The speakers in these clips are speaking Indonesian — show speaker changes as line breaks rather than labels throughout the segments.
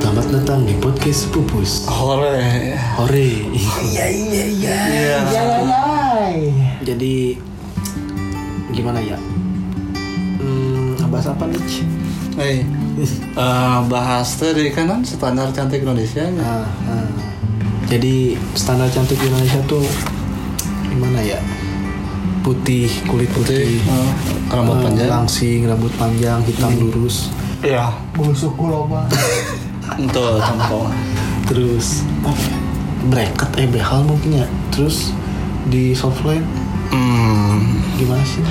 Selamat datang di podcast Pupus.
Hore.
Hore.
Iya iya iya.
Iya.
Iya iya.
Jadi gimana ya? Hmm, bahas apa nih?
Hey, eh, bahas tadi kan kan standar cantik Indonesia ya.
Nah, nah. Jadi standar cantik di Indonesia tuh gimana ya? Putih, kulit putih, Hmm.
Putih, eh, rambut
Iya. eh,
panjang.
langsing, rambut panjang, hitam lurus,
Iya.
Busuk kuloba.
Untuk tampol.
terus apa ya? bracket eh behal mungkin ya. Terus di softline
Hmm.
gimana sih?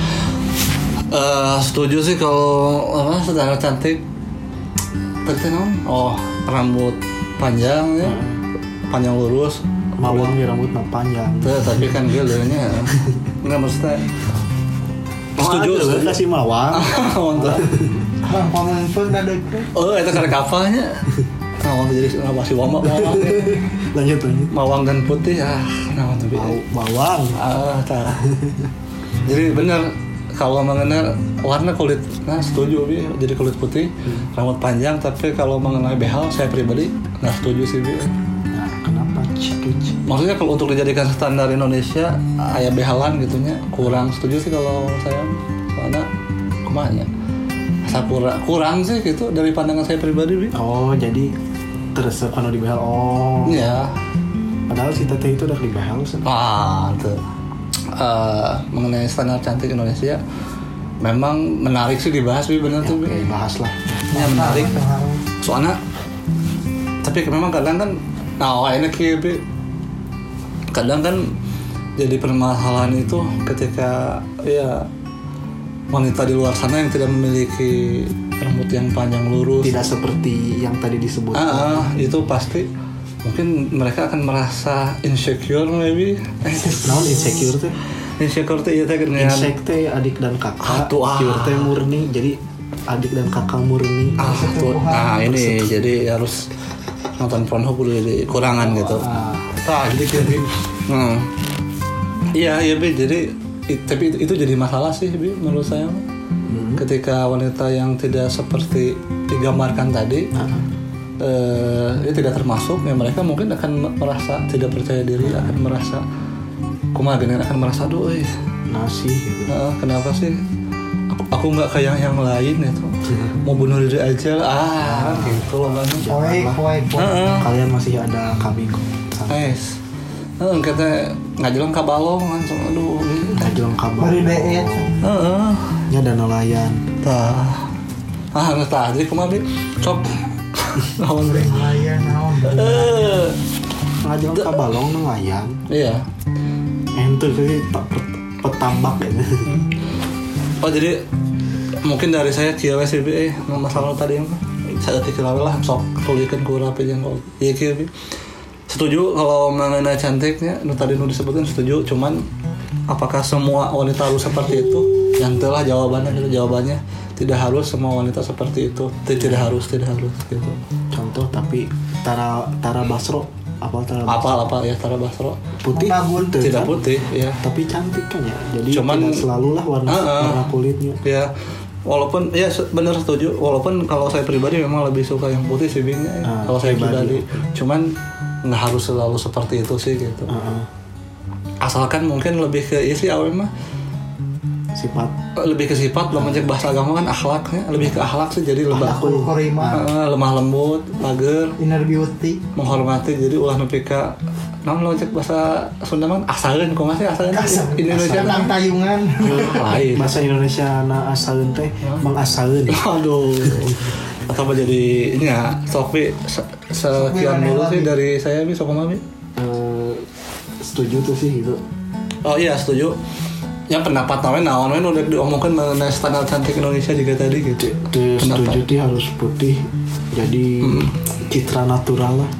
Eh, setuju sih kalau apa standar cantik tadi non oh rambut panjang ya panjang lurus
Mawang di rambut mah panjang.
Tuh, tapi kan gue lirnya nggak maksudnya setuju
Waduh,
setuju.
kasih mawang.
Untuk-
Bang pamengpeun dadek teh.
oh itu karena kapalnya Nah, jadi masih wamak mawang, ya.
lanjut lanjut.
mawang dan putih ah, nah untuk
Mau mawang.
ah, tah. jadi benar kalau mengenai warna kulit, nah setuju bi, jadi kulit putih, rambut panjang. Tapi kalau mengenai behal, saya pribadi nggak setuju sih bi.
Nah, kenapa gitu? Ci?
Maksudnya kalau untuk dijadikan standar Indonesia, ayah behalan gitunya kurang setuju sih kalau saya karena kemana? Saya kurang, kurang sih gitu dari pandangan saya pribadi bi.
Oh, jadi terus anu di behel. Oh.
Ya,
Padahal si teteh itu udah di behel. Sen.
Ah, itu. Eh, mengenai standar cantik Indonesia memang menarik sih dibahas Bi, bener tuh Bi.
Oke, Eh, bahas lah.
Ya, menarik soalnya tapi memang kadang kan nah ini kayak Bi. kadang kan jadi permasalahan itu ketika ya wanita di luar sana yang tidak memiliki rambut yang panjang lurus
Tidak seperti yang tadi disebut.
Ah, ah, itu pasti mungkin mereka akan merasa insecure maybe
Naon insecure tuh?
insecure tuh iya teh geningan.
Insect teh adik dan kakak.
Atuh, ah.
Cure teh murni. Jadi adik dan kakak murni.
ah tuh nah ini jadi harus nonton Pornhub dulu jadi kurangan gitu ah jadi jadi hmm. iya iya Bi, jadi i- tapi itu, itu jadi masalah sih Bi, menurut saya ketika wanita yang tidak seperti digambarkan tadi
Nah,
eh, dia tidak termasuk ya mereka mungkin akan me- merasa tidak percaya diri akan merasa kumaha gini, akan merasa aduh eh,
Nasi gitu.
Nah, Ah, kenapa sih? Aku, aku nggak kayak yang lain itu. Mau bunuh diri aja lah. Ah, gitu loh bang.
Poek poek poek.
Heeh.
Kalian masih ada kami kok.
Nice. Heeh, kita Ah, nggak jalan ke balong langsung aduh.
Ngajong kabar.
Beri deet.
Heeh.
Nya ada nelayan.
Tah. Ah, nggak tah. Jadi kemarin cok. Lawan deh.
Layan naon.
Eh,
Ngajong kabalong nelayan.
Iya.
Ente sih pe- pe- petambak ya.
Oh jadi mungkin dari saya kieu we sih eh masalah lu tadi yang saya pikir lah sok tulikeun ku rapi yang kau ya kieu Bi. setuju kalau mengenai cantiknya nu tadi nu disebutkan setuju cuman apakah semua wanita harus seperti itu yang telah jawabannya itu jawabannya tidak harus semua wanita seperti itu Ti- tidak harus tidak harus gitu
Contoh tapi Tara Tara Basro apa Tara Basro?
apa apa ya Tara Basro
putih
Membangun.
teu
tidak
kan?
putih ya
tapi cantik kan ya jadi
Cuman-
tidak selalulah warna
Heeh.
warna kulitnya
ya walaupun ya se- bener setuju walaupun kalau saya pribadi memang lebih suka yang putih sih Bing, ya.
Ah,
kalau saya
pribadi.
pribadi cuman nggak harus selalu seperti itu sih gitu
Heeh.
asalkan mungkin lebih ke isi awal mah
sifat
lebih ke sifat belum mencek bahasa agama kan akhlaknya lebih ke akhlak sih jadi lebah
Aku korima.
Heeh, lemah lembut mager
Inner beauty.
menghormati jadi ulah nepi ka naon lamun cek bahasa Sunda mah asalin kok masih asalin
Asalin.
Ini Indonesia mah
Tentang tayungan.
lain
bahasa Indonesia na asalin teh mengasalin
Aduh. Atau apa jadi ini ya, Sofi se- sekian dulu sih dari saya Bi Sokoma Bi.
Eh, setuju tuh sih gitu
Oh iya setuju. Ya pendapat nawen naon nawen udah diomongkan mengenai standar cantik Indonesia juga tadi gitu.
Tuh, setuju tuh harus putih jadi citra natural lah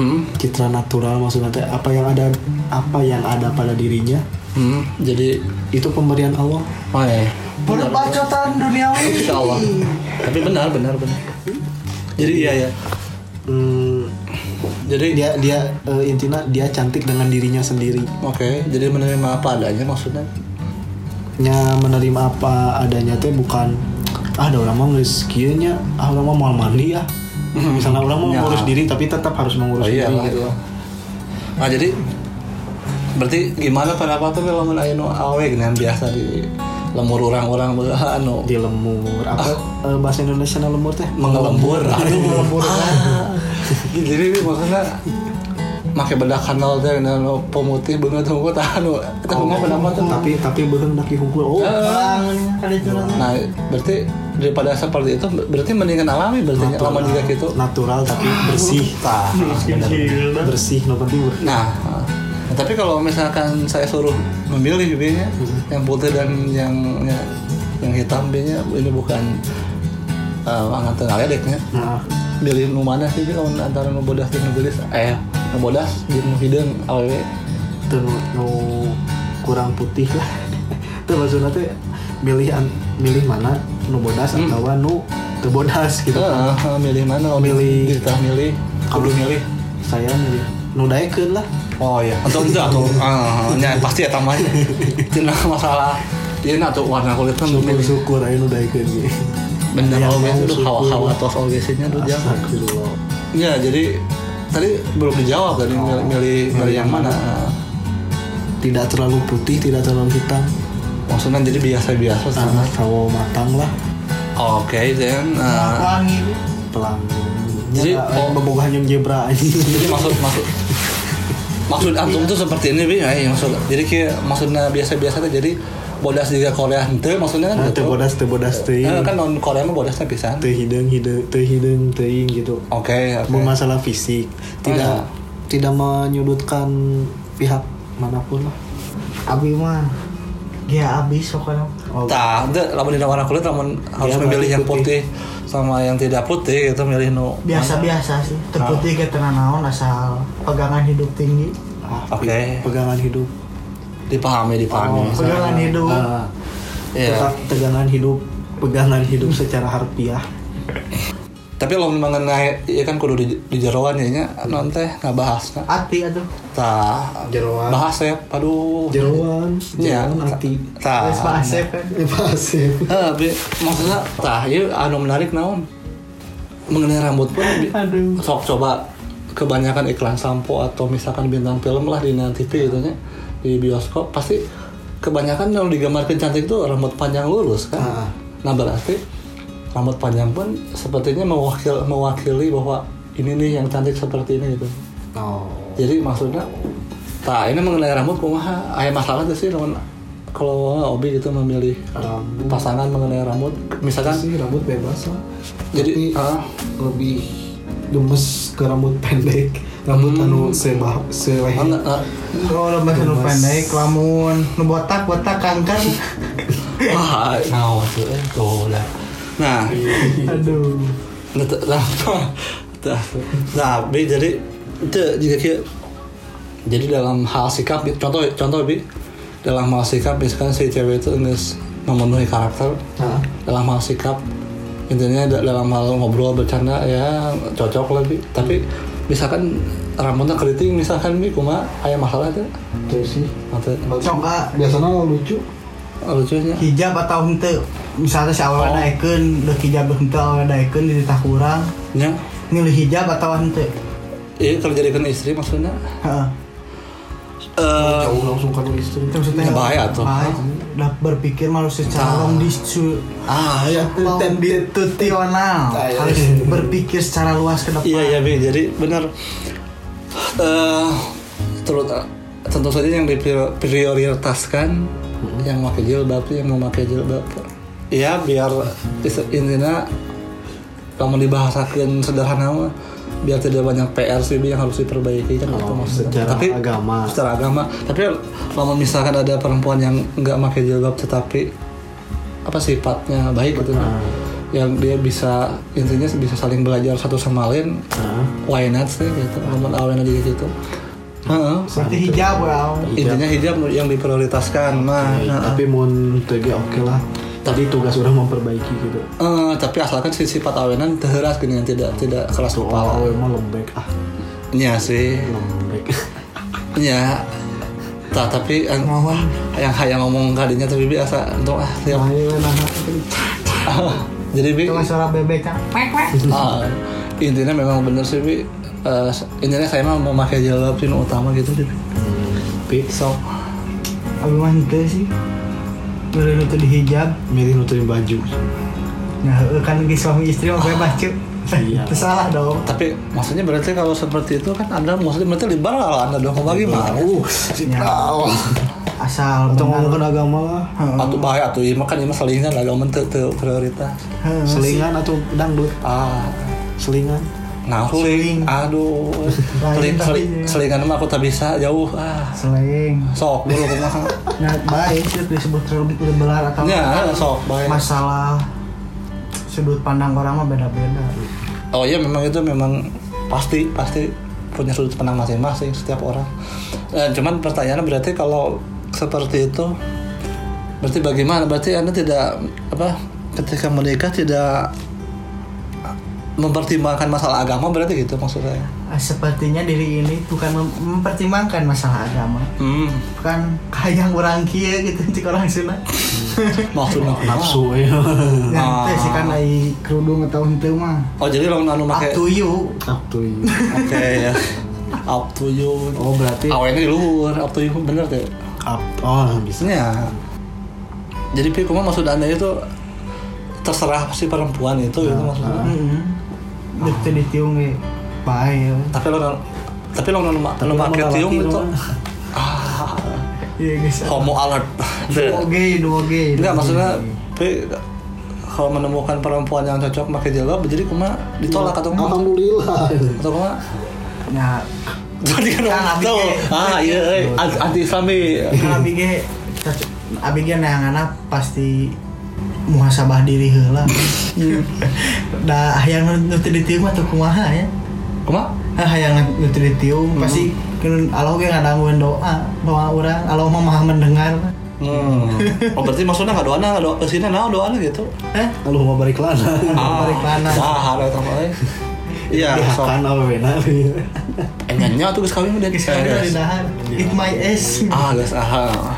Hmm.
citra natural maksudnya teh apa yang ada apa yang ada pada dirinya
Hmm. Jadi
itu pemberian Allah
oh ya.
Perbacotan duniawi.
Insya Allah. Tapi benar benar benar. Jadi iya ya.
Hmm,
Jadi
dia dia eh, intinya dia cantik dengan dirinya sendiri
oke. Jadi menerima apa adanya maksudnya.
nya menerima apa adanya teh bukan ah ada orang mah geus kieu nya ah orang mah moal mandi ya misalnya orang mau
Ya.
ngurus diri tapi tetap harus mengurus
Oh, iya
diri
lah.
gitu lah.
Nah jadi berarti gimana pendapat tuh kalau mun anu awe yang biasa di lemur orang-orang be- anu
di lemur apa eh, bahasa Indonesia lemur teh
Ah. mengelembur.
Aduh, ngelembur.
Ah. Jadi maksudnya make bedak kanal teh dan anu pemutih beungeut tunggu tah anu eta kumaha pendapat tuh.
tapi tapi beuheung dak dihungkul oh
Eh,
Orang ada jalan.
Nah, berarti daripada seperti itu berarti mendingan alami berarti
Natural.
lama juga gitu. Ah,
natural tapi bersih
Tah.
bersih no penting bersih.
Nah, nah, tapi kalau misalkan saya suruh memilih B-nya
Mm-hmm.
yang putih dan yang yang, yang hitam B-nya ini bukan uh, angkatan aledeknya.
nah
Milih nu mana sih Bi, kalau antara nu bodas jeung nu geulis? Eh, nu bodas jeung nu hideung awewe.
itu nu, nu kurang putih lah itu maksudnya teh milih an- milih mana nu bodas
Hmm.
atau nu teu bodas gitu
Heeh, heeh, Ah, milih mana? Kalau
Milih.
ditah milih, kudu milih.
saya milih nu daekeun lah
Oh iya, atau enggak atau ah, nya pasti ya tamanya. Cina masalah. Iya, nah, tuh warna kulitnya nu
syukur
milih.
syukur aja nu daekeun ge Yang
Bener, kalau
mau
biasa tuh
syukur.
hawa-hawa tos OGC-nya tuh jangan.
Astagfirullah.
Ya jadi tadi belum dijawab tadi milih, Oh. milih, milih yang mana.
tidak terlalu putih tidak terlalu hitam
Maksudnya jadi biasa-biasa sama.
tanah sawo matang lah
Ah. Oke dan uh,
Wangi. Bi.
pelangi jadi
Jadi, oh. Kan
memboga yang jebra aja
jadi maksud maksud maksud antum tuh seperti ini bi ya, yang maksud jadi kayak maksudnya biasa-biasa tuh jadi bodas juga Korea itu maksudnya kan
teu
gitu.
bodas teu bodas teuing
Eh, kan non Korea mah bodasnya pisan.
teu hideung hideung teu hideung teuing gitu
Oke, oke.
Bukan masalah fisik tidak
Oh,
tidak menyudutkan pihak manapun lah
Abi mah. Ya abis pokoknya.
oh,
Tah, itu lamun dina warna kulit lamun harus
Iya,
memilih
berarti
yang
putih.
putih sama yang tidak putih gitu milih nu Ah.
Biasa-biasa sih. Terputih ke tenang naon asal pegangan hidup tinggi.
ah, pe-
Oke.
pegangan hidup
dipahami
Oh,
dipahami.
Pegangan hidup.
Ah,
Iya.
tetap pegangan hidup pegangan hidup secara harfiah
tapi lo mengenai ya kan kudu di, di jeroan ya nya non teh nggak bahas nah
Ati atuh.
tah
Jeroan.
bahas ya paduh
jeroan
Iya,
jeroan hati
tah
Wes pasif kan.
pasif
Eh, bi- maksudnya tah ya anu menarik naon mengenai rambut pun bi-
Aduh.
sok coba kebanyakan iklan sampo atau misalkan bintang film lah di nanti TV gitu nya di bioskop pasti kebanyakan yang digambarkan cantik itu rambut panjang lurus kan
Ah.
nah berarti rambut panjang pun sepertinya mewakil mewakili bahwa ini nih yang cantik seperti ini gitu
oh
jadi maksudnya tak ini mengenai rambut kumaha ayah masalah tuh sih lawan kalau Obi gitu memilih
rambut
pasangan mengenai rambut misalkan
sih rambut bebas lah Tapi-
jadi ah,
lebih gemes ke rambut pendek rambut anu sebah
ah,
seleher
nggak, nggak.
Kalau lembah nu pendek lamun nu botak botak kanker.
wah nah tuh eh, tuh lah nah
Aduh.
nah tuh, nah, tuh. nah bi jadi itu juga kayak jadi dalam hal sikap Bi, contoh contoh bi dalam hal sikap misalkan si cewek itu nges memenuhi karakter
Nah,
dalam hal sikap intinya da- dalam hal ngobrol bercanda ya cocok lebih tapi misalkan rambutnya keriting misalkan nih kuma ayah masalah itu
itu Iya sih
atau
Coba
biasanya lucu
lucunya
hijab atau henteu. Misalnya si
Oh.
awal daekeun, deuk hijab deuk henteu awal daekeun di titah kurang.
nya
Milih hijab atau henteu.
Ya, iya kalau jadikan istri maksudnya
Heeh.
eh
jauh ya langsung ke istri
Itu
Ya,
maksudnya
bahaya tuh.
bahaya. Dah berpikir malu
Nah.
secara long distance
ah ya
longitudinal
Nah, iya.
harus berpikir secara luas ke depan
iya iya Bi. jadi benar eh terus tentu saja yang diprioritaskan yang pakai jilbab yang memakai jilbab ya biar is- intinya kamu dibahasakan sederhana mah, biar tidak banyak PR sih Bi, yang harus diperbaiki kan gitu maksudnya.
Oh, secara agama.
secara agama tapi kalau misalkan ada perempuan yang nggak pakai jilbab tetapi apa sifatnya baik gitu
Nah.
yang dia bisa intinya bisa saling belajar satu sama lain
nah
why not sih gitu momen awalnya di situ Heeh.
seperti hijab ya. wow
intinya hijab yang diprioritaskan nah
Ya,
heeh.
tapi mau tega oke lah tadi tugas orang memperbaiki gitu
Eh, tapi asalkan si sifat awenan teheras gini yang tidak tidak keras
kalau
kepala
emang lembek ah
nya sih
lembek
nya Ta, Ya, tapi yang yang hayang ngomong kadinya tapi biasa untung ah tiap
ayo nah
jadi bi
itu mah suara bebek kan
ah, intinya memang bener sih Bi. Eh, intinya saya mah memakai jilbab sih nu utama gitu sih Bi. Bi, so
Abi mah henteu sih. Milih nutup di hijab.
milih nutupin baju
Nah, heueuh kan geus suami istri mah bebas cuy.
Iya.
Itu salah dong.
tapi maksudnya berarti kalau seperti itu kan anda maksudnya berarti liberal anda dong mau gimana
uh si tahu
Asal
atau
benar.
ngomongin agama lah
Heeh.
atau bahaya atau iya makan ini selingan agama teu teu prioritas
Heeh.
selingan atau dangdut
ah
Iya selingan
nah
Seling.
aduh seling,
tapi
seling-
ya.
selingan mah aku tak bisa jauh ah
Seling.
sok dulu kumaha
Nah, baik itu disebut terbelar atau
ya sok baik
masalah sudut pandang orang mah beda-beda.
Oh iya memang itu memang pasti pasti punya sudut pandang masing-masing setiap orang. Eh, cuman pertanyaannya berarti kalau seperti itu berarti bagaimana? Berarti anda tidak apa ketika menikah tidak mempertimbangkan masalah agama berarti gitu maksud saya.
Ah, Sepertinya diri ini bukan mem- mempertimbangkan masalah agama,
Hmm,
bukan kayang orang kia gitu cik orang Sunda.
maksudnya
nafsu ya
Yang teh sih kan ai kerudung atau henteu mah.
Oh jadi lo anu Ah.
Up
pakai.
to you.
up to you.
Oke ya. Up to you.
oh berarti
Awalnya di luhur, up to you bener tuh.
up oh bisa
Maksudnya ya, jadi Pi, kuma maksud anda itu terserah si perempuan itu gitu maksudnya.
Heeh. Dek teh ditiung ge. Bae.
Tapi lo non- tapi lo non
Tapi
lo
lo
pakai
nggak
tiung
laki,
itu
lo.
ah,
Iya geus.
homo alert. Iya.
Oke, dua ge.
Oh. Enggak maksudnya Pi, kalau menemukan perempuan yang cocok pakai jilbab jadi kuma ditolak atau
Iya.
kuma
alhamdulillah
atau kuma
Nah,
jadi kan
Ah,
orang tahu.
bikin.
ah iya iya. anti islami
kan abi ge abi ge neanganna pasti muhasabah diri heula. Da hayang nu teu ditiung mah teu kumaha ya.
kuma
Ah, hayang nu teu ditiung pasti kan Allah ge ngadanggueun doa, doa urang, Allah mah Maha mendengar.
hmm. oh berarti maksudnya nggak doana nggak doa kesini nah doana gitu
Eh,
lalu mau balik lana
ah
Balik mana?
ah ada tambah lain iya sok.
kan apa benar
Enggaknya Eh, tuh guys kawin udah
geus kawe
Guys.
dari dahar. It my ass.
Iya, Ah guys, ah.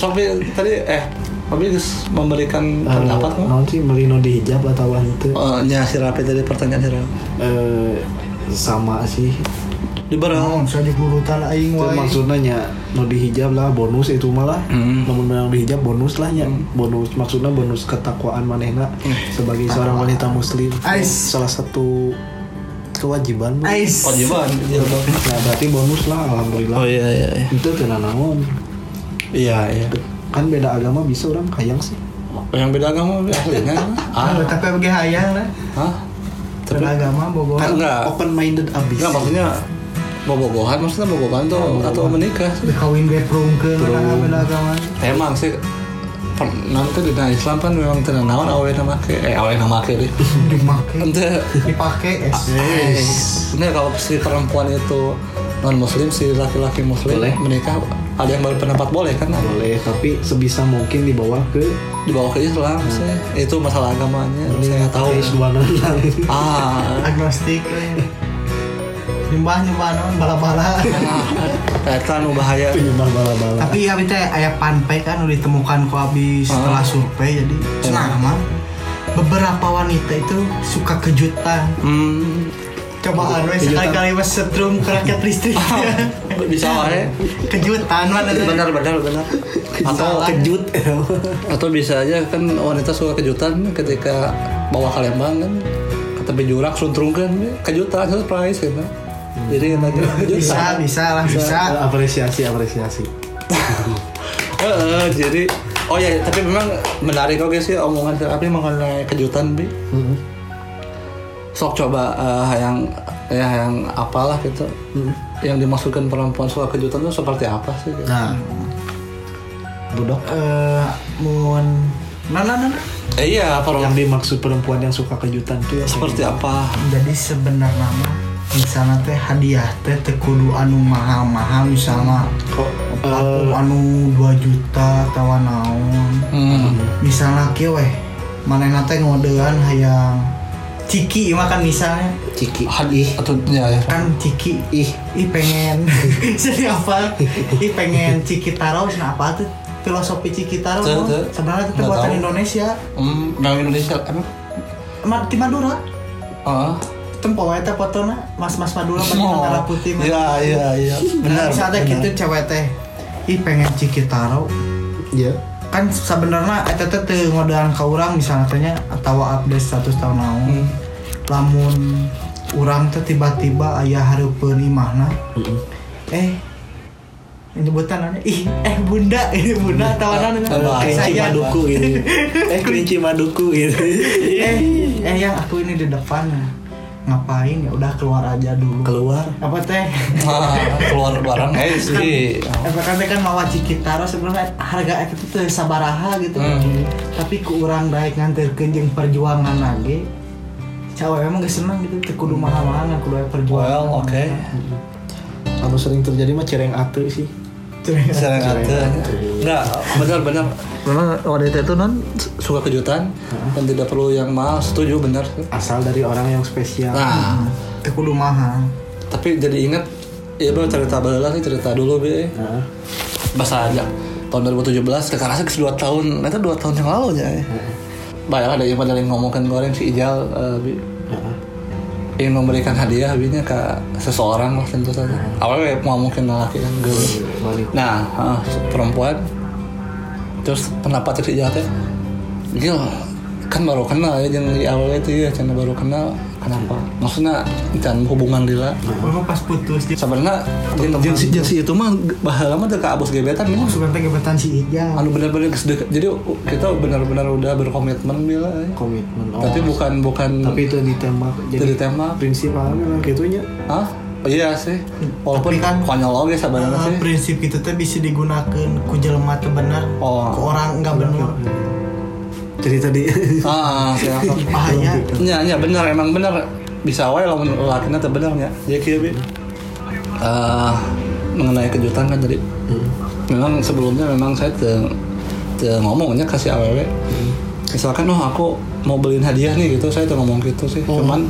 Sampai tadi eh tapi guys memberikan pendapat mah.
non Eh, sih melino di hijab atau itu
Eh, nya si Rapi tadi pertanyaan si Rapi.
eh sama sih
Liberal.
Naon saja gurutan aing
itu
wae.
maksudnya nya nu di hijab lah bonus itu malah
Hmm.
namun yang di hijab bonus lah nya bonus maksudnya bonus ketakwaan manehna
Hmm.
sebagai seorang wanita muslim
Ais.
salah satu kewajiban Bu.
Ais.
Kewajiban. iya, Bang.
nah berarti bonus lah alhamdulillah
Oh iya iya iya.
itu kena naon
Iya iya.
kan beda agama bisa orang kayang sih
Yang beda agama aslinya. Ah.
Ah, tapi abi ge hayang lah.
Hah? Tapi Ah,
Beragama bogoh.
kan
enggak.
open minded abis
enggak maksudnya bobogohan maksudnya bobogohan tuh atau menikah.
Kawin ge prungkeun kan beragama.
Emang sih per- nanti di dalam Islam kan memang tenang naon awe nama ke eh awe nama ke deh.
Dimake.
Ente
dipakai es
Sebenarnya kalau si perempuan itu non muslim si laki-laki muslim
Boleh.
menikah ada yang berpendapat boleh kan
boleh tapi sebisa mungkin dibawa ke
dibawa ke Islam
Hmm.
sih. itu masalah agamanya saya nggak tahu
keislaman lain
ah
agnostik eh. nyembah nyembah non bala bala
Ah. itu nu bahaya
penyembah bala-bala
tapi abi teh ayah panpai kan udah ditemukan ku abi setelah survei jadi senang mah beberapa wanita itu suka kejutan
hmm,
cobaan wes
Kejutan.
sekali kali wes setrum ke rakyat listrik
bisa wae
kejutan mana teh
benar benar benar atau
Salah.
kejut
atau bisa aja kan wanita suka kejutan ketika bawa ke Lembang kan ke tepi jurang suntrungkan kejutan surprise gitu jadi enak kejutan
bisa bisa lah bisa
Ya, apresiasi apresiasi
Heeh, jadi oh ya tapi memang menarik oke sih omongan si Rapi mengenai kejutan bi sok coba eh, yang ya yang apalah gitu yang dimasukkan perempuan suka kejutan itu seperti apa sih gitu?
nah budok
eh mun nah nah nah nah.
Eh, iya
yang
perempuan
dimaksud perempuan yang suka kejutan tuh ya
seperti apa
jadi sebenarnya mah misalnya teh hadiah teh teh kudu anu mahal mahal misalnya
kok
Aku anu 2 juta tawa naon
hmm.
misalnya kieu weh manehna teh ngodean hayang ciki mah kan misalnya
ciki
hadis atau ya, ya.
kan ciki
ih
ih pengen jadi apa ih pengen ciki taro cenah apa tuh filosofi ciki taro
Tuh,
no?
tuh.
sebenarnya teh
Nggak
buatan
tahu.
Indonesia
Hmm, orang Indonesia emang
Ma- di Madura
ah
tempo wae teh fotona mas-mas Madura bagi
Oh,
negara putih mah.
Iya iya iya. Benar.
Misalnya
benar.
gitu cewek teh ih pengen cikitaro
Iya.
kan sebenarnya eta teh teu ngodean ka urang misalnya tanya atau update status tahun naon
Hmm.
lamun urang teh tiba-tiba aya hareupeun imahna eh nyebutan aja ih eh bunda ini bunda tawanan
Tambah kelinci
saya
maduku gitu. Eh kelinci maduku gitu.
eh eh yang aku ini di depan ngapain ya udah keluar aja dulu
Keluar.
apa teh
Nah, keluar barang eh sih.
apa kan teh kan mawa cikitaro sebenarnya harga itu tuh sabaraha gitu
Hmm.
tapi ku urang daek nganterkeun jeung perjuangan lagi cewek emang gak seneng gitu teu kudu mahal-mahal kudu aya perjuangan
Well, oke.
Anu sering terjadi mah cereng ate sih.
Sarang ada. Enggak, benar-benar. Benar, wanita itu non suka kejutan dan tidak perlu yang mahal. Setuju benar.
Asal dari orang yang spesial.
Nah,
teu kudu mahal
tapi jadi ingat ya bro cerita barulah nih cerita dulu be
Nah,
bahasa aja tahun 2017 kekarasa ke 2 tahun itu 2 tahun yang lalu ya banyak ada yang pada yang ngomongkan goreng si Ijal eh, Bi.
nah.
ingin memberikan hadiah binya ke seseorang lah tentu saja awalnya kayak mau mungkin laki kan girl.
Wanita.
nah ah, perempuan terus pendapat si Ijal teh Gil kan baru kenal ya jangan di awalnya itu ya jangan baru kenal kenapa maksudnya jangan hubungan lila
Bapak pas putus dia
sebenarnya jenis jenis itu mah bahaya lama teh ke abos gebetan ya.
suka teh gebetan si Ijal
anu benar-benar kesedek- jadi kita benar-benar udah berkomitmen bila ya.
komitmen. Oh,
tapi bukan bukan
tapi itu ditembak
jadi
jadi
tema
prinsip memang gitunya.
ah iya sih walaupun
Tapi kan-
konyol
Ah,
oge sebenarnya
Nah,
sih
prinsip itu teh bisa digunakan ku jelema teu bener
Oh.
ku orang enggak bener
Jadi tadi
ah ah, sih apa.
bahaya
nya nya Iya, benar emang benar bisa wae lamun lakinya teh bener nya ya kieu Bi. Eh, mengenai kejutan kan jadi memang sebelumnya memang saya te, te ngomongnya kasih aww misalkan oh aku mau beliin hadiah nih gitu saya tuh ngomong gitu sih cuman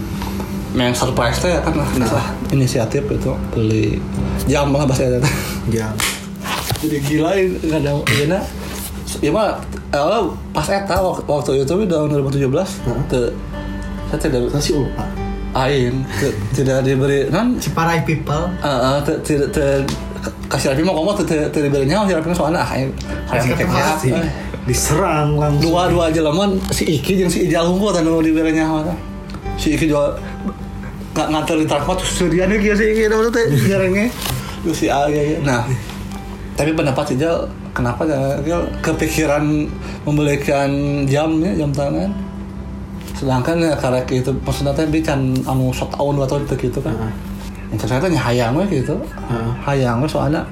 main surprise teh kan lah inisiatif- inisiatif gitu beli jam lah bahasa itu
jam.
jadi gila ya, nggak ada gimana ya mah eh, pas eta waktu, waktu itu tahun 2017 te, saya tidak
Saya sih lupa.
aing te- tidak diberi non ah,
Ciparai people
Heeh, teu teu teu kasih Rafi mah ngomong teu teu teu dibeli nyawa si Rafi mah soalnya ah aing hayang
Kasih
teh
ketemu
kayak
sih.
eh.
Diserang langsung.
dua dua aja lamun si Iki jeung si Ijal unggul tanu dibeli nyawa teh. Si Iki jual nggak nganter di transport terus suriannya kieu si Iki tau teh jarangnya terus si Al ya, ya. nah tapi pendapat Ijal kenapa ya Ijal kepikiran membelikan jamnya jam tangan sedangkan ya karek itu maksudnya teh bican anu shot tahun dua tahun gitu kan
Heeh.
yang saya tanya hayang we gitu
Heeh.
hayang we soalnya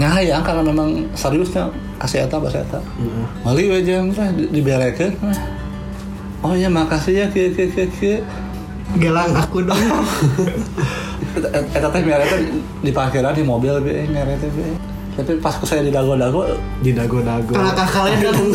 nya hayang karena memang seriusnya kasih eta bahasa eta
Heeh.
Mali we jeung teh di- diberekeun teh. oh ya makasih ya kieu kieu kieu kieu
gelang aku dong
Eta- eta teh mere teh di parkiran di mobil be mere teh be tapi pas saya di dago-dago
Di dago-dago.
kakak kalian dong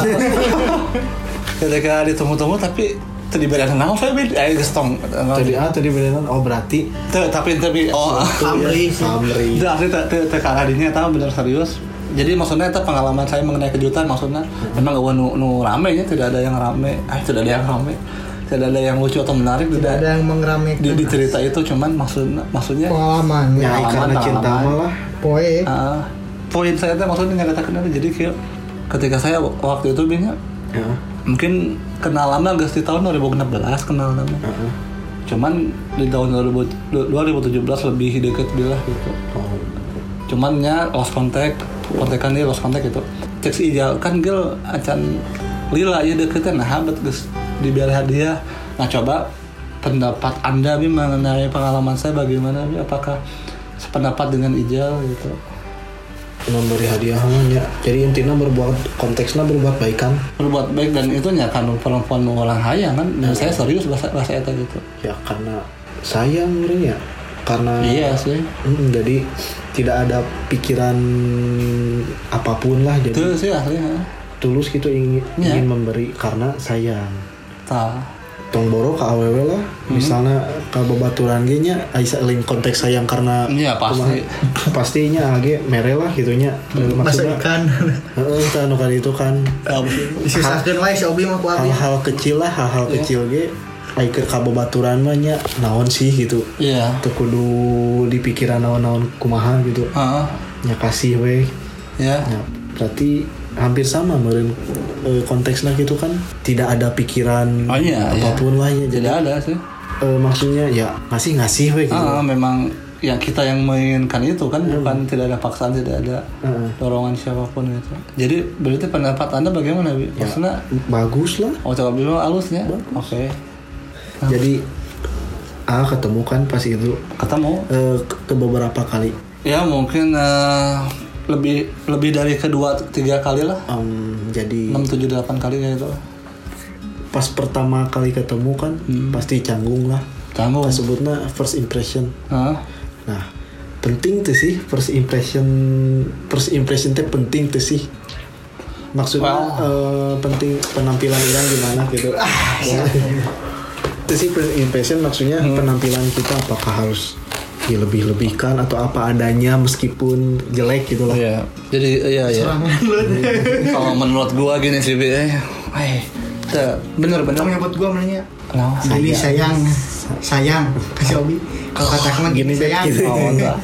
ketika ditunggu-tunggu tapi teu diberekeun naon saya be aya geus tong eh,
Tadi ah tadi beneran oh berarti iya,
Teu, tapi tapi oh
Amri
Amri.
Itu asli teh teh- teh karena dinya tahu bener serius. Jadi maksudnya itu pengalaman saya mengenai kejutan maksudnya memang gak nu, nu rame nya tidak ada yang rame, ah tidak ada yang rame, tidak ada yang lucu atau menarik
tidak ada
tidak,
yang mengeramikan
di, di cerita itu cuman maksudnya maksudnya
pengalaman
Ya,
Pengalaman,
karena cinta
pengalaman.
malah
poe
ah, poin saya itu maksudnya nggak kenal jadi kayak ketika saya waktu itu binya
ya.
mungkin kenal lama guys di tahun 2016 kenal lama
Heeh.
cuman di tahun 2000 2017 lebih deket bila gitu
Oh.
cuman nya lost contact kontekan dia lost contact gitu cek si Ijal kan gel acan lila ya deketan nah habat guys dibeli hadiah nah coba pendapat anda bi mengenai pengalaman saya bagaimana bi apakah sependapat dengan Ijal gitu
memberi hadiah mah, nya. Jadi intinya berbuat konteksnya berbuat kan? baikan.
berbuat baik dan itu nya kan perempuan nu orang hayang kan dan saya serius bahasa bahasa eta gitu
Ya karena sayang mungkin ya. Karena
iya sih
Mm, jadi tidak ada pikiran apapun lah
itu
jadi
sih asli ha.
tulus gitu ingin
Ya.
ingin memberi karena sayang
tah
tong boro ke aww lah
Hmm.
misalnya ke babaturan ge nya Aisyah link konteks sayang karena
Iya, pasti.
kumaha. pastinya age mere lah gitunya Eh,
masa
maksudnya
kan?
ikan
heeh tah anu kan itu kan
Eh,
disusahkan lah si Obi mah ku
Ah,
Abi
Iya.
hal-hal kecil lah hal-hal kecil ge Aiker kabobaturan mah nya naon sih gitu
Iya.
Teu kudu di pikiran naon-naon kumaha gitu
Heeh.
nya kasih we
Ya.
Ya, berarti hampir sama meren eh, konteksnya gitu kan tidak ada pikiran
Oh iya, iya.
apapun lah ya jadi
Tidak ada sih.
eh, maksudnya ya ngasih ngasih we gitu
Ah, memang ya kita yang menginginkan itu kan bukan tidak ada paksaan, tidak ada
Heeh.
dorongan siapapun gitu. Jadi berarti pendapat Anda bagaimana, Bi? Maksudnya
bagus lah
oh coba dulu alusnya. Oke.
jadi ah ketemu kan pas itu
Ketemu.
eh, ke, ke beberapa kali
Ya mungkin eh, lebih lebih dari kedua tiga kali lah.
Em, jadi
6 7 8 kali kayak gitu.
pas pertama kali ketemu kan pasti canggung lah
Tanggung.
sebutnya first impression
Heeh.
nah penting tuh sih first impression first impression teh penting tuh sih maksudnya eh, penting penampilan orang gimana gitu
Ah, iya.
itu sih first impression maksudnya
Hmm.
penampilan kita apakah harus dilebih-lebihkan atau apa adanya meskipun jelek gitu lah
Iya. Jadi iya iya. Kalau menurut gua gini sih, Bi. Eh, eh, teh, bener-bener Nah,
Kamu nyebut gue namanya
Kenapa?
Gini sayang Sayang Kasih Obi Kalau kata kamu gini sayang
Oh, enggak.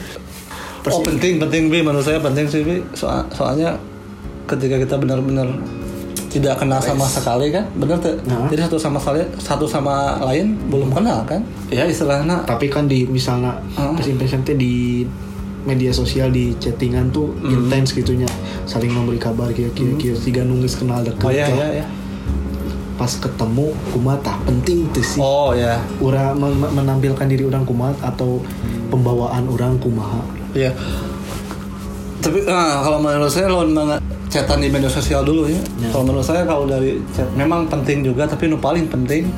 Oh penting penting bi menurut saya penting sih bi Soal- soalnya ketika kita benar-benar tidak kenal sama sekali kan benar tuh
Nah.
jadi satu sama sekali satu sama lain belum kenal kan ya istilahnya
tapi kan di misalnya
Heeh.
first impression teh di media sosial di chattingan tuh intens gitunya saling memberi kabar kira-kira tiga nungis kenal dekat
oh ya
lah.
ya ya
pas ketemu kumata penting tuh sih
oh ya
Orang menampilkan diri orang kumat atau pembawaan orang kumaha
ya tapi nah, kalau menurut saya lawan banget chatan di media sosial dulu ya kalau menurut saya kalau dari chat memang penting juga tapi nu paling penting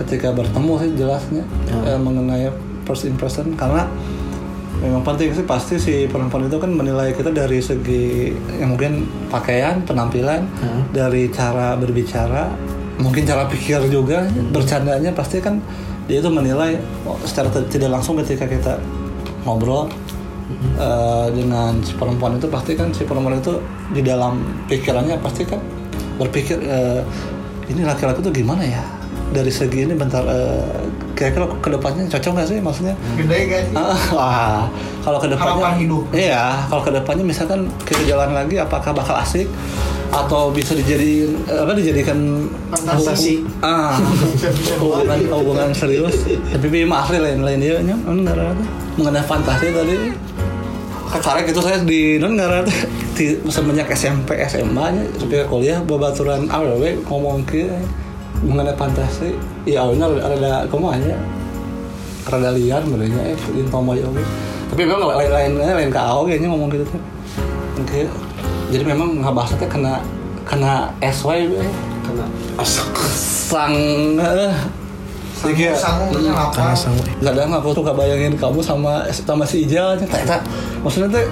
ketika bertemu sih jelasnya eh, mengenai first impression karena memang penting sih pasti si perempuan itu kan menilai kita dari segi yang mungkin pakaian penampilan dari cara berbicara mungkin cara pikir juga bercandanya pasti kan dia itu menilai oh, secara t- tidak langsung ketika kita ngobrol eh, dengan si perempuan itu pasti kan si perempuan itu di dalam pikirannya pasti kan berpikir eh, ini laki-laki tuh gimana ya dari segi ini bentar eh, kira-kira kedepannya cocok nggak sih maksudnya
Gede kan? guys
Ah, Wah, kalau kedepannya
Iya. Harapan hidup.
Iya, kalau kedepannya misalkan kita jalan lagi, apakah bakal asik atau bisa dijadiin apa dijadikan
Fantasi.
hubung- ah hubungan hubungan serius tapi bi maaf lain lain dia Anu, nya non ngarana teh. mengenai fantasi tadi kacarek itu saya di non ngarana teh. di semenjak SMP SMA nya sampai kuliah babaturan awewe ngomong ke mengenai fantasi ya awalnya ada kumaha nya rada liar sebenarnya eh di tomboy oke tapi memang lain lain lain ke AO kayaknya ngomong gitu tuh oke jadi memang nggak bahasa teh kena kena SY we.
karena
sang eh Iya. sedikit
Sanggung terusnya
Ah.
apa
eh,
kadang aku tuh bayangin kamu sama sama si Ijal teh tak maksudnya teh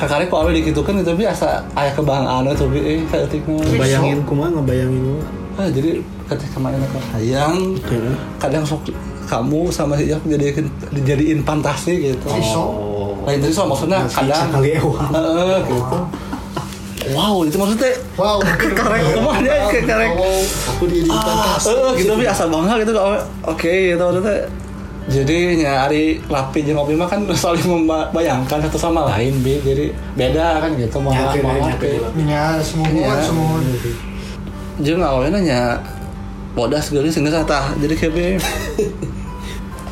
kakaknya kok awal dikitu kan tapi asa ayah kebanggaan itu bi eh kayak etik
ngebayangin kumaha ngebayangin kumaha
ah jadi ketika kemarin aku sayang
Heeh.
kadang sok kamu sama si Ijal dijadiin dijadiin fantasi gitu
oh
Lain itu so maksudnya kadang
sekali ewa.
Heeh, gitu. Wow, itu maksudnya
Wow
karek rumah dia kayak karek.
aku di di
Ah,
pantas
eh, gitu tapi asal bangga gitu kalau oke gitu maksudnya. Jadi nyari lapi jeung kopi mah kan saling membayangkan satu sama lain bi jadi beda kan gitu mau
Nyakin,
mau
nyakin.
lapi.
Ya semuanya
Iya.
semua
Jeung awalnya nanya bodas geulis geus tah jadi kayak bi.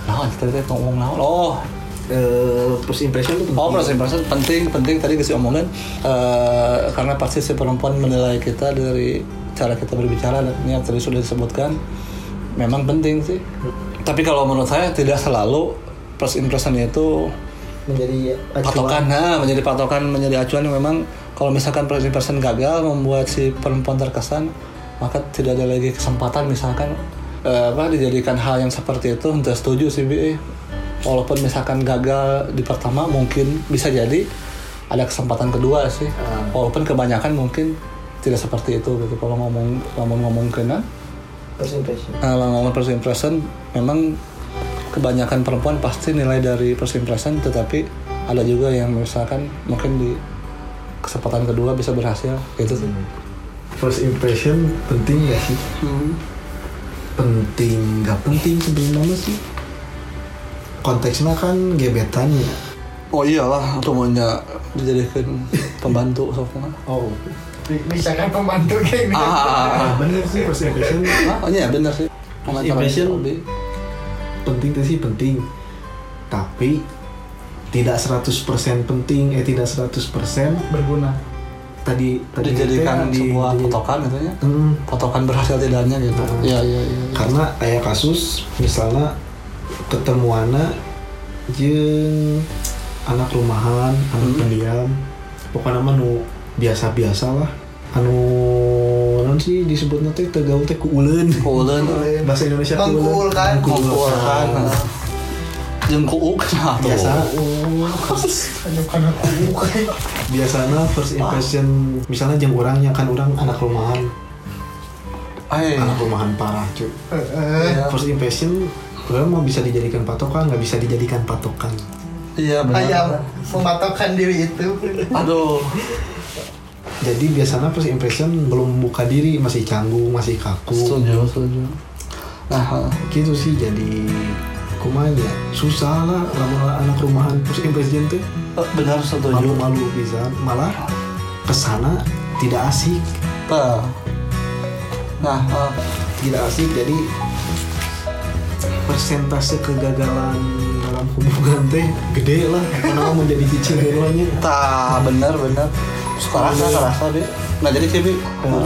Nah, tadi teh ngomong naon? Oh,
Eh, first impression tuh penting.
Oh, first impression penting, penting tadi kasih omongan eh, karena pasti si perempuan menilai kita dari cara kita berbicara dan ini yang tadi sudah disebutkan memang penting sih. Tapi kalau menurut saya tidak selalu first impression itu
menjadi acuan
patokan, nah, menjadi patokan, menjadi acuan yang memang kalau misalkan first impression gagal membuat si perempuan terkesan maka tidak ada lagi kesempatan misalkan eh, apa dijadikan hal yang seperti itu tidak setuju sih Bi. walaupun misalkan gagal di pertama mungkin bisa jadi ada kesempatan kedua sih walaupun kebanyakan mungkin tidak seperti itu gitu kalau ngomong ngomong ngomong kena
first impression
kalau ngomong first impression memang kebanyakan perempuan pasti nilai dari first impression tetapi ada juga yang misalkan mungkin di kesempatan kedua bisa berhasil gitu sih Hmm.
first impression penting gak sih penting nggak penting sebenarnya sih konteksnya kan gebetannya
oh iyalah atau maunya dijadikan pembantu sok mah.
oh
bisa kan pembantu kayak
ah, ah, ah, ah.
bener sih first impression
Ah, oh iya bener sih Pengacara
impression-
hobi.
Ah, penting tuh sih penting tapi tidak 100% penting eh tidak 100%
berguna
tadi tadi teh
dijadikan
di-
sebuah
di-
potokan gitu ya
Hmm,
potokan berhasil tidaknya gitu
Ah.
iya iya iya
karena ayah kasus misalnya ketemuannya jeung anak rumahan anak
Hmm.
pendiam pokoknya mah nu biasa-biasa lah anu non sih disebutnya teh tegaul teh kuuleun
kulen
bahasa Indonesia
Tengkul kan.
Tengkul kan.
kumpulkan jeung kuuk nah tuh
biasa
hanya karena aku
Iya.
biasanya first impression misalnya jeung orangnya kan orang anak rumahan
eh
anak rumahan parah cuy
Eh,
iya.
first impression orang mah bisa dijadikan patokan nggak bisa dijadikan patokan
iya
ayam
benar
mematokkan diri itu
aduh
jadi biasanya first impression belum buka diri masih canggung masih kaku
setuju setuju nah
gitu sih jadi kumanya susah lah lama anak rumahan first impression tuh
eh, benar setuju
malu-malu bisa malah kesana tidak asik
Tah. nah eh,
tidak asik jadi persentase kegagalan dalam hubungan teh gede lah kenapa menjadi kecil gelonya
tah benar benar suka rasa suka rasa deh nah jadi sih Bi.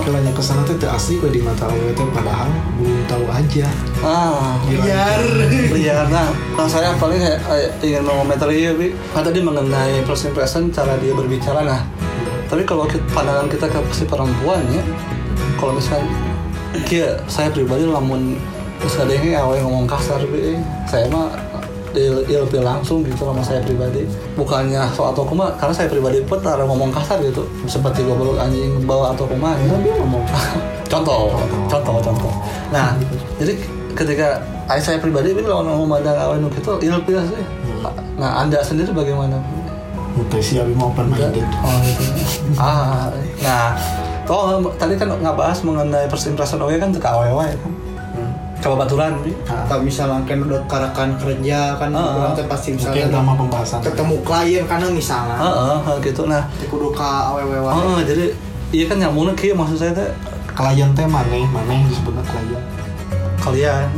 kelanya kesana teh teu asik we di mata awewe teh padahal belum tahu aja
ah
biar
Iya, nah, kalau saya paling kayak, kayak ingin mengomentari ya, Bi. Nah, tadi mengenai first impression, cara dia berbicara, nah. Tapi kalau kita- pandangan kita ke si perempuan ya, kalau misalkan, kia, saya pribadi lamun sekadangnya awal ngomong kasar, Bi, saya mah il- ilfil langsung gitu sama saya pribadi bukannya so atau kuma karena saya pribadi pun taruh ngomong kasar gitu seperti gue peluk anjing bawa atau kuma ya
kan dia ngomong
contoh contoh contoh nah jadi ketika ay- saya pribadi ini kalau ngomong mandang awal nuk itu ilfil sih nah anda sendiri bagaimana
Oke sih abi mau open minded
oh gitu ah nah toh tadi kan nggak bahas mengenai first impression oke kan ke awal kan
Hmm.
coba baturan
Iya.
Bi.
atau misalnya kan udah karakan kerja kan
Ah,
pulang teh pasti
mungkin
misalnya
nama pembahasan
ketemu klien karena
Heeh,
misalnya
heeh, gitu nah
teh kudu ka aww
oh jadi iya kan nyambungnya kia maksud saya teh
klien teh maneh maneh disebutnya klien
kalian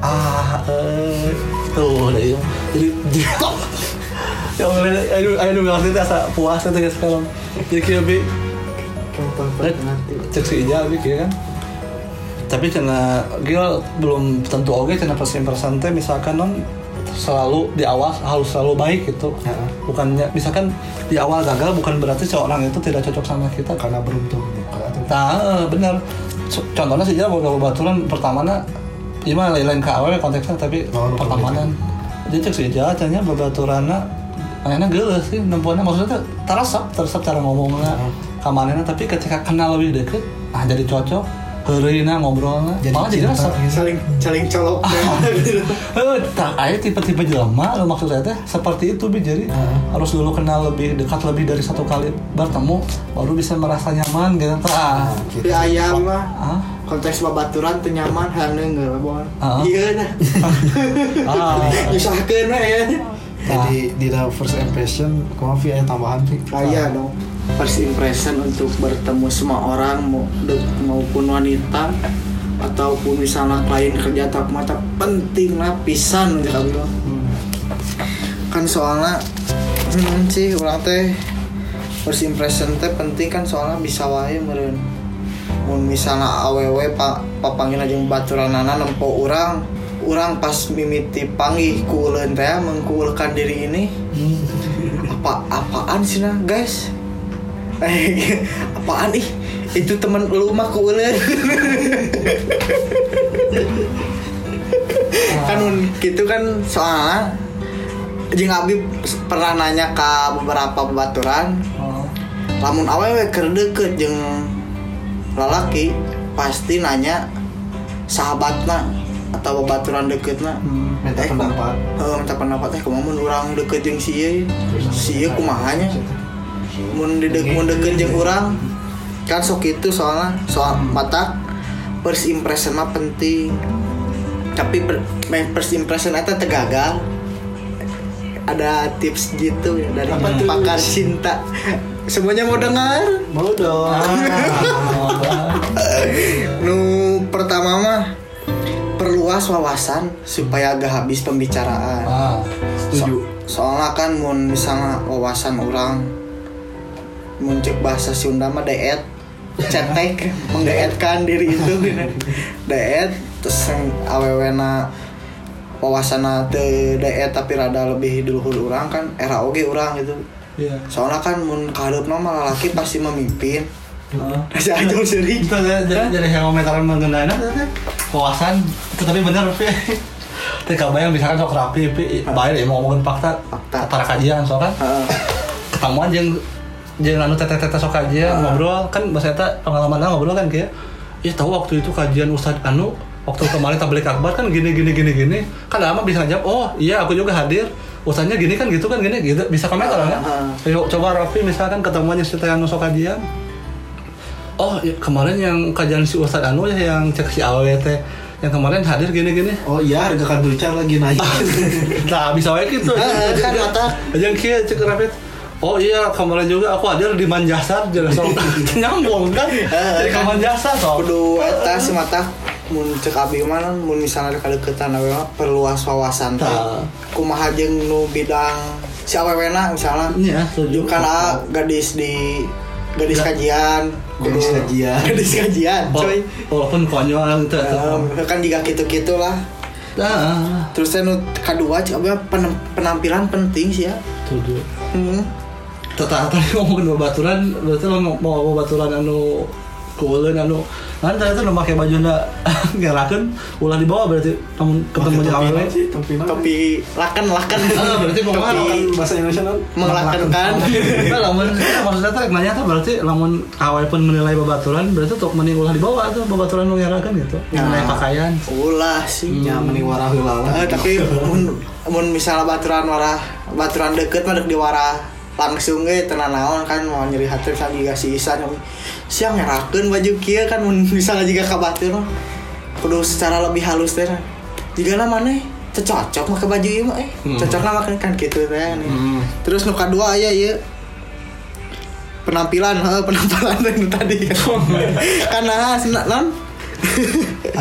ah eh tuh udah iya. jadi jadi yang mana ayo ayo nggak ngerti asa puas itu kayak sekarang jadi kayak bi cek si ija bi kayak kan tapi karena gil belum tentu oke karena persen persen teh misalkan non selalu di awal harus selalu baik gitu
Heeh.
bukannya misalkan di awal gagal bukan berarti seorang itu tidak cocok sama kita kan
karena beruntung buka atau
Nah, eh, bener. So- Contohnya sih ya, jalan bawa baturan pertamana gimana ya, lain-lain ke awalnya konteksnya tapi
Oh, no
pertamanan dia cek sih jalan tanya babaturanna mainnya geus sih nempuannya maksudnya terasap terasap cara ngomongnya
Hmm.
kamarnya tapi ketika kenal lebih deket ah jadi cocok heureuina ngobrolnya
Jadi
malah jadi
cinta.
resep
saling saling colok
Eh, tak aya tipe-tipe jelema lo maksud saya teh seperti itu bi jadi
Ah.
harus dulu kenal lebih dekat lebih dari satu kali bertemu baru bisa merasa nyaman gitu tah.
di ayam mah
Ah.
konteks babaturan teu nyaman hane nggak bor
Ah.
iya nah
Ah.
nyusahkeun we ya
jadi di dalam first impression kamu via tambahan sih
kaya dong first impression untuk bertemu semua orang mau de- maupun wanita ataupun misalnya klien kerja atau mata penting lah pisan gitu bilang kan soalnya hmm, sih orang teh first impression teh penting kan soalnya bisa wae meren mun misalnya aww pak papangin aja baturan anak nempo orang orang pas mimiti panggih ku uleun teh mengkuulkan diri ini apa apaan sih nah guys Eh, apaan ih itu temen lu mah ku uleun. kan mun gitu kan soalnya jeung Abi pernah nanya ke beberapa baturan
Hmm.
lamun awewe keur deukeut jeung lalaki pasti nanya sahabatna atau babaturan dekeutna
Hmm, minta
Eh,
pendapat
eh, minta pendapat teh kumaha mun urang deket jeung si ieu si ieu kumahanya mun didek mun deket jeung urang kan sok itu soalnya soal mata first impression mah penting tapi per, main first impression itu tegagal ada tips gitu ya dari
Apa tuh?
pakar cinta semuanya mau dengar
mau dong Ah.
nu pertama mah perluas wawasan supaya gak habis pembicaraan
ah
setuju
soalnya kan mau misalnya wawasan orang muncul bahasa Sunda mah deet cetek mengdeetkan diri itu deet terus yang awewena wawasana teu deet tapi rada lebih dulu orang kan era oge orang gitu
iya
soalnya kan mun kaharupna mah laki pasti memimpin
Ah.
Masih aja sering
Itu dari dari- dari yang komentaran mengenai itu teh, wawasan itu tapi bener pi tapi kalau bayang misalkan sok rapi pi bayar ya mau ngomongin fakta
Fakta. Ah.
para kajian soalnya kan
Heeh.
ketemuan jeung jeung anu teteh teteh sok kajian
Ah.
ngobrol kan bahasa eta pengalaman lah ngobrol kan kayak ya tahu waktu itu kajian ustadz anu waktu kemarin tablik akbar kan gini gini gini gini kan lama bisa jawab oh iya aku juga hadir ustadznya gini kan gitu kan gini gitu bisa komentar kan
Ah.
ayo coba Raffi misalkan ketemuannya si Teh anu sok kajian Oh ya, kemarin yang kajian si Ustadz Anu ya yang cek si AWT yang kemarin hadir gini-gini.
oh iya harga kartu lagi naik
Nah bisa wae gitu.
Heeh, kan mata
Yang kia cek rapid. Oh iya kemarin juga aku hadir di Manjasar jadi sok nyambung kan. Jadi ke Manjasar sok.
Ah, kudu eta si mata mun cek abi mana mun misalnya ada deketan awewe mah perluas wawasan teh
Tah.
kumaha jeung nu bidang si awewe na misalnya
Iya, setuju. Iya.
karena gadis di gadis kajian kudu-
Gadis kajian.
gadis kajian
Oh.
coy
Wala- Walaupun konyol gitu.
Em, kan juga gitu-gitu lah
Nah,
terus teh nu kedua cek abi mah penem- penampilan penting sih ya
tujuh.
hmm.
Tata tadi ngomongin babaturan, berarti lo mau mau babaturan anu kuuleun anu kan tadi tuh make baju na ngerakeun ulah dibawa berarti namun ketemu jeung awewe.
topi lakan lakan
Ah, berarti pokoknya
topi Nah.
lakan.
bahasa Indonesia non kan.
melakankan
Nah, lamun ya, maksudnya tuh nanya tuh berarti lamun awal pun menilai babaturan berarti tuh mending ulah dibawa tuh babaturan nu ngerakeun gitu. Mengenai pakaian. Hmm.
ulah sih
nya ya, meniwara heulala
Eh, tapi mun, mun misalnya baturan warah baturan deket mah dek di warah langsung ge tenan naon kan mau nyeri hati kan juga si Isan siang ngerakeun baju kieu kan mun misalnya juga ka batur mah kudu secara lebih halus teh nah. Jiga na maneh teu cocok mah ke baju ieu mah eh cocok mah kan kan kitu teh nih. Terus nu kadua aya ieu penampilan heeh penampilan yang tadi kan nah non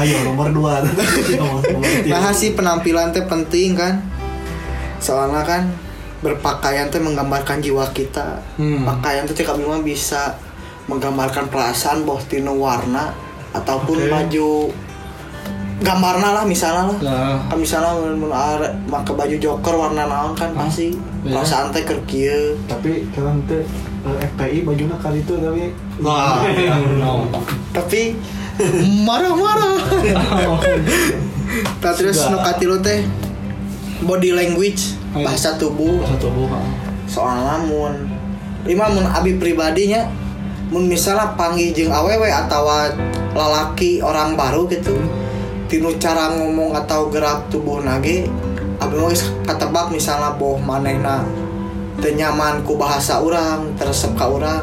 ayo nomor dua nomor, nomor
Iya.
tiga.
Nah sih penampilan teh penting kan Soalnya kan berpakaian teh menggambarkan jiwa kita
Hmm.
Pakaian teh kami mah bisa menggambarkan perasaan boh tinu warna Ataupun
Oke.
baju gambarna lah misalnya lah
Nah,
Kan misalnya mun mun are- make baju joker warna naon kan
Hah?
pasti
Iya.
perasaan teh keur kieu.
tapi kalian teh eh, FPI bajunya kali itu tapi
lah,
Tapi marah-marah Nah, Terus
Sudah. Iya.
nu katilu teh body language
Ayo.
bahasa tubuh
Satu buka.
Eh,
soalnya mun lima mun abi pribadinya mun misalnya panggil jeung awewe atau lalaki orang baru gitu tinu cara ngomong atau gerak tubuh nage abi mah geus katebak misalnya boh manehna teu nyaman ku bahasa orang teresep ka orang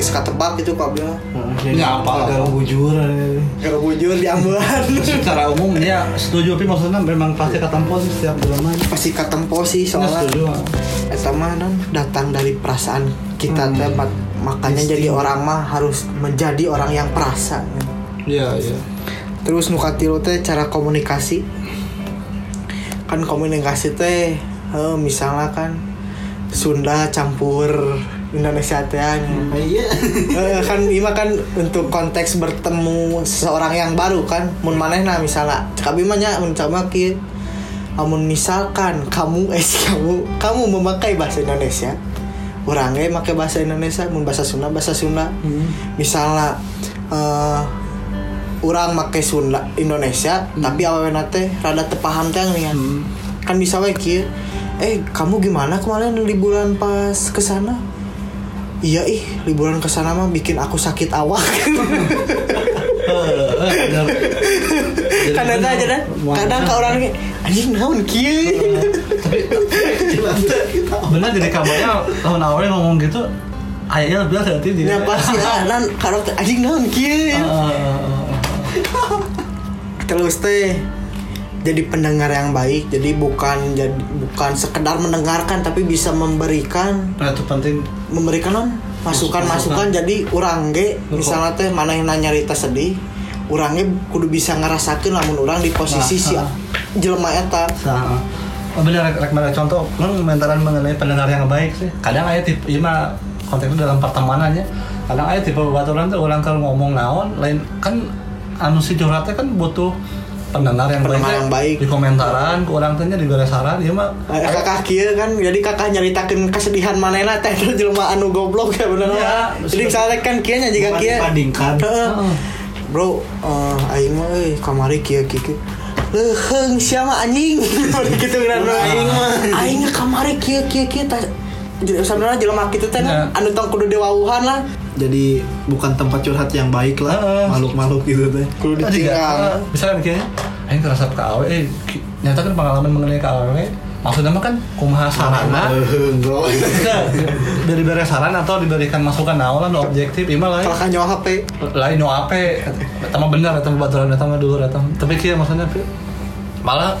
geus katebak gitu ku abi mah
Ya, apa?
agak bujur eh.
Keur bujur di ambeun
Secara umum ya setuju tapi maksudnya memang
Iya.
pasti ketempuh sih setiap drama.
pasti katempo sih
Nah,
soalnya
setuju. ah.
Eta mah non datang dari perasaan kita teh mak- makanya jadi orang mah harus menjadi orang yang perasa.
Iya, iya.
Terus nu katilu teh cara komunikasi. Kan komunikasi teh eh, misalnya kan Sunda campur Indonesia teh anu.
Eh, iya
Eh, kan ima kan untuk konteks bertemu seseorang yang baru kan mun manehna misalnya cekabi mah nya mun cama kieu amun misalkan kamu eh si kamu kamu memakai bahasa Indonesia orang ge make bahasa Indonesia mun bahasa Sunda bahasa Sunda misalnya eh orang make Sunda Indonesia tapi awalnya teh rada tepaham teh nih kan bisa we kieu eh kamu gimana kemarin liburan pas kesana Iya ih liburan ke sana mah bikin aku sakit awak.
Eh,
kadang aja dan kadang ke orang ini anjing naon kieu.
benar jadi kabarnya tahun awalnya ngomong gitu ayahnya lebih ada hati dia
Nya pasti anan karo teh, anjing naon kieu.
Ah, ah, ah, ah.
Terus teh jadi pendengar yang baik jadi bukan jadi bukan sekedar mendengarkan tapi bisa memberikan
nah itu penting
memberikan non masukan masukan jadi orang ge misalnya teh mana yang nyarita sedih orangnya kudu bisa ngerasakin lamun orang di posisi si jelema eta
nah oh, bener rek, rek mana contoh kan mentaran mengenai pendengar yang baik sih kadang ayat tipe iya mah konteksnya dalam pertemanannya kadang ayat tipe baturan tuh orang kalau ngomong naon lain kan anu si curhatnya kan butuh pendengar yang
Pendengar yang baik.
di komentaran ke orang tanya di balasaran iya mah
Eh, kakak kieu kan jadi kakak nyaritakeun kesedihan manehna teh itu jelema anu goblok ya bener
Iya,
jadi misalnya kan kieu nya jika kieu
dibandingkan.
Heeh. bro eh, aing mah euy kamari kieu kieu kieu. leuheung Eh, sia mah anjing gitu kan bro aing mah aing mah kamari kieu kieu kieu tah jadi sebenarnya jelema kitu teh nah,
Iya.
anu tong kudu dewauhan lah
Jadi bukan tempat curhat yang baik
Heeh.
lah makhluk-makhluk gitu teh.
kudu
Tadi kan,
ditinggal
misalnya kayaknya aing ngerasa ke awe eh ki- nyata kan pengalaman mengenai ke awe maksudnya mah kan kumaha sarana
Hehehe, Eh, bro.
Nah, dari beri saran atau diberikan masukan naon lah, nu objektif ima lain
kalau kan nyawa HP
lain no ape eta mah bener eta mah baturan eta mah dulur eta mah. tapi kieu maksudnya Pi. malah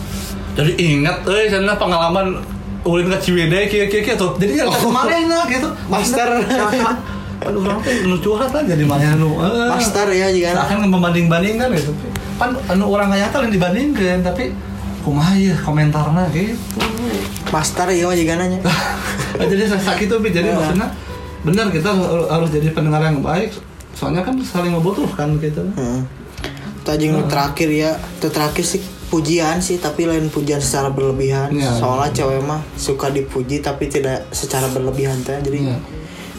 jadi ingat euy cenah pengalaman ulin ke Ciwidey kieu kieu kieu tuh jadi ya kemarinna gitu
Oh. Master.
Aduh, orang teh nu curhat lah jadi mana nu eh.
master ya
Nah,
jika
akan membanding-bandingkan gitu kan anu orang kaya teh lain dibandingkan tapi kumaha ya komentarna gitu
master ya mah jika nanya
Nah, jadi sakit itu Pi.
Iya.
jadi maksudnya benar kita har- harus jadi pendengar yang baik soalnya kan saling membutuhkan gitu
Heeh. Itu aja yang terakhir ya. Itu terakhir sih pujian sih tapi lain pujian secara berlebihan.
Iya,
Soalnya cewek mah suka dipuji tapi tidak secara berlebihan teh. Jadi
Iya.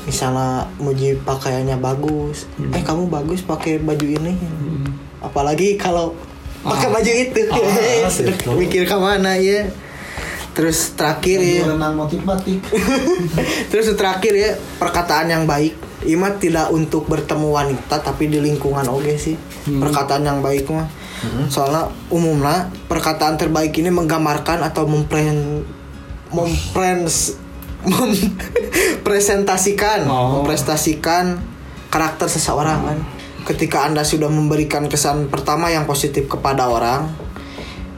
misalnya muji pakaiannya bagus.
Hmm.
Eh kamu bagus pakai baju ini. Apalagi kalau pakai baju itu.
Ah,
Sudah
gitu.
mikir ke mana ya. Terus terakhir ya.
Renang motif batik.
Terus terakhir ya perkataan yang baik. Ima tidak untuk bertemu wanita tapi di lingkungan oge sih. Perkataan yang baik mah. Soalnya umumnya perkataan terbaik ini menggambarkan atau mempren memprens mempresentasikan,
Oh.
memprestasikan karakter seseorang kan. Ketika Anda sudah memberikan kesan pertama yang positif kepada orang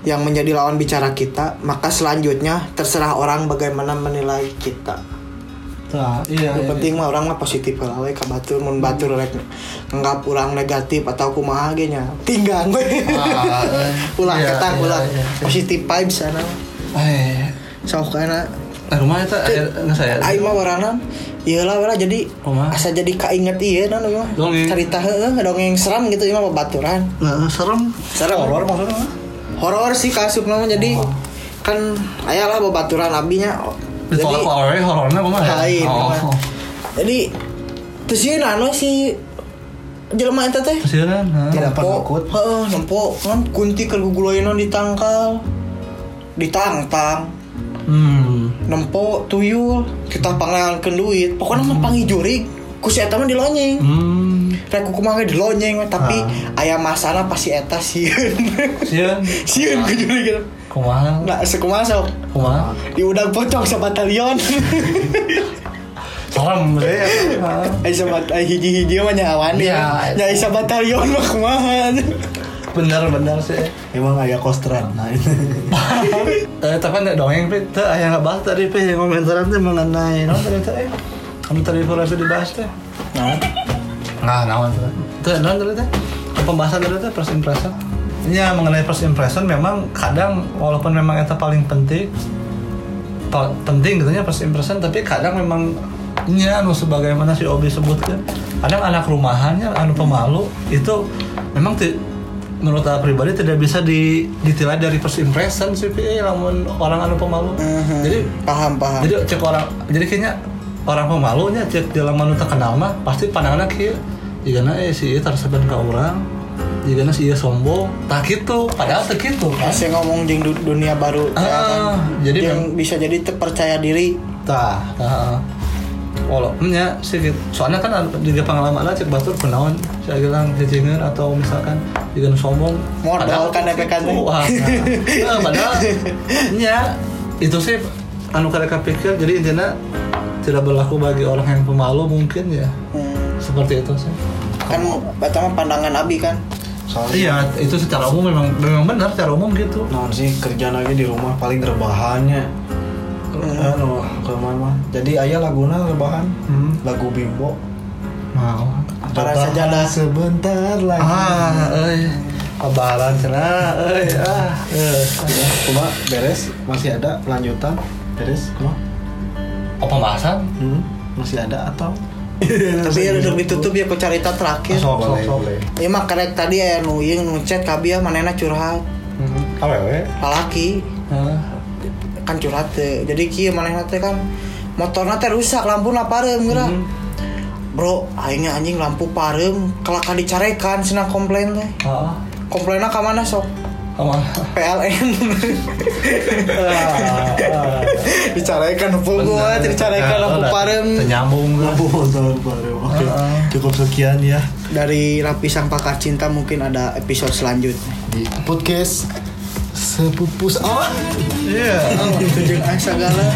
yang menjadi lawan bicara kita, maka selanjutnya terserah orang bagaimana menilai kita.
Nah, iya, iya.
Yang penting mah orang mah positif lah we ka batur mun batur rek nganggap urang negatif atau kumaha ge nya. Tinggang we.
Ah, eh.
Ulah
Iya,
ketang
iya,
ulah
iya.
positif vibes sana.
eh
Sok kana
nah rumah itu air nggak saya
aing mah urangna ieu lah we lah jadi
Kumaha?
asa jadi kainget ieu nan we mah.
Dongeng.
Carita heeh dongeng seram gitu ieu mah babaturan.
nah, serem
Serem.
horor maksudnya mah.
Horor sih kasup mah jadi
Oh.
kan ayalah babaturan abinya.
ditolak ke awe horornya kumaha ya?
lain
oh,
emang. jadi terus dia nano si jelema eta teh
kesianan
Tidak pernah
nempo
takut.
heeh nempo kan kunti keur guguloyeuna ditangkal ditangtang
hmm
nempo tuyul kita pangelankeun duit pokoknya mah pangijurig ku si eta mah dilonyeng
hmm Ah.
rek ku kumaha ge dilonyeng we, tapi aya masalah pasti eta sieun
sian
sieun ku jurig
kumaha
nah sekumaha sok
kumaha
diundang pocong sebatalion
serem
Iya.
sih Ah.
Aisyah bat ai hiji-hiji mah nyawan
Iya.
ya. Ya Aisyah batalion mah kumaha.
bener bener sih
Emang agak kostran. Nah, itu.
Eh, tapi nggak dongeng, Pi. Tuh, ayah nggak bahas tadi, Pi. Komentaran tuh mengenai. Nah, tadi tuh, eh. Kamu tadi pura itu dibahas, teh.
Nah,
Nah, nawan tuh. Tuh, nah, tadi tuh. Ke Pembahasan tadi tuh, first impression. Ya, mengenai first impression memang kadang, walaupun memang itu paling penting, pa- penting gitu ya first impression, tapi kadang memang nya anu sebagaimana si Obi sebutkan kadang anak rumahannya anu pemalu itu memang ti- menurut saya pribadi tidak bisa di, ditilai dari first impression sih Pi, lamun orang anu pemalu jadi
paham paham.
jadi cek orang jadi kayaknya orang pemalunya cek dalam manu terkenal mah pasti pandangannya kieu jika eh si ieu terseban ke orang jika si ieu sombong tak gitu padahal tak gitu kan
Saya ngomong jeung du- dunia baru ya kan?
ah, jadi
yang
mem-
bisa jadi terpercaya diri.
tah tah walaupun ya sih gitu. soalnya kan ada- juga pengalaman lah cek batur kunaon saya bilang jejengan atau misalkan jika sombong
Modal
padahal
kan
gitu.
EPK-nya.
Wah, nah. Nah, padahal nya itu sih anu kareka pikir jadi intinya tidak berlaku bagi orang yang pemalu mungkin ya
Hmm.
seperti itu sih
Kan pertama pandangan Abi kan.
soalnya
Iya, itu secara umum memang memang benar secara umum gitu.
naon Nah, sih kerjaan aja di rumah paling rebahannya Eh, no, kelemahan mah jadi ayah laguna rebahan
Hmm.
lagu bimbo
Mau.
para sajadah sebentar lagi
Ah, eh. Lebaran cenah, eh. Ah, eh.
Ya, cuma beres masih ada lanjutan beres cuma
Apa pembahasan?
hmm, masih ada atau Iya,
tapi ya udah
gitu.
ditutup ya ku carita terakhir
Sok, sok, sok.
ya mah karek tadi ya nu ieu nu chat kabeh manehna curhat
Hmm.
awewe
lalaki
Ah.
kan curhat teh jadi kieu manehna teh kan motorna teh rusak lampuna parem geura
Mhm.
bro aingnya anjing lampu parem kelaka dicarekan senang komplain teh
Ah.
komplainnya ka mana sok
Sama.
PLN
Ah, ah.
dicarekan heupeung gua
Bener.
dicarekan
Ah,
lampu
udah.
parem
Ternyambung gua.
lampu motor Oh, baru oke
Heeh.
cukup sekian ya
dari lapisan pakar cinta mungkin ada episode selanjutnya
di podcast sepupus awak
Iya.
Jeung Aing sagala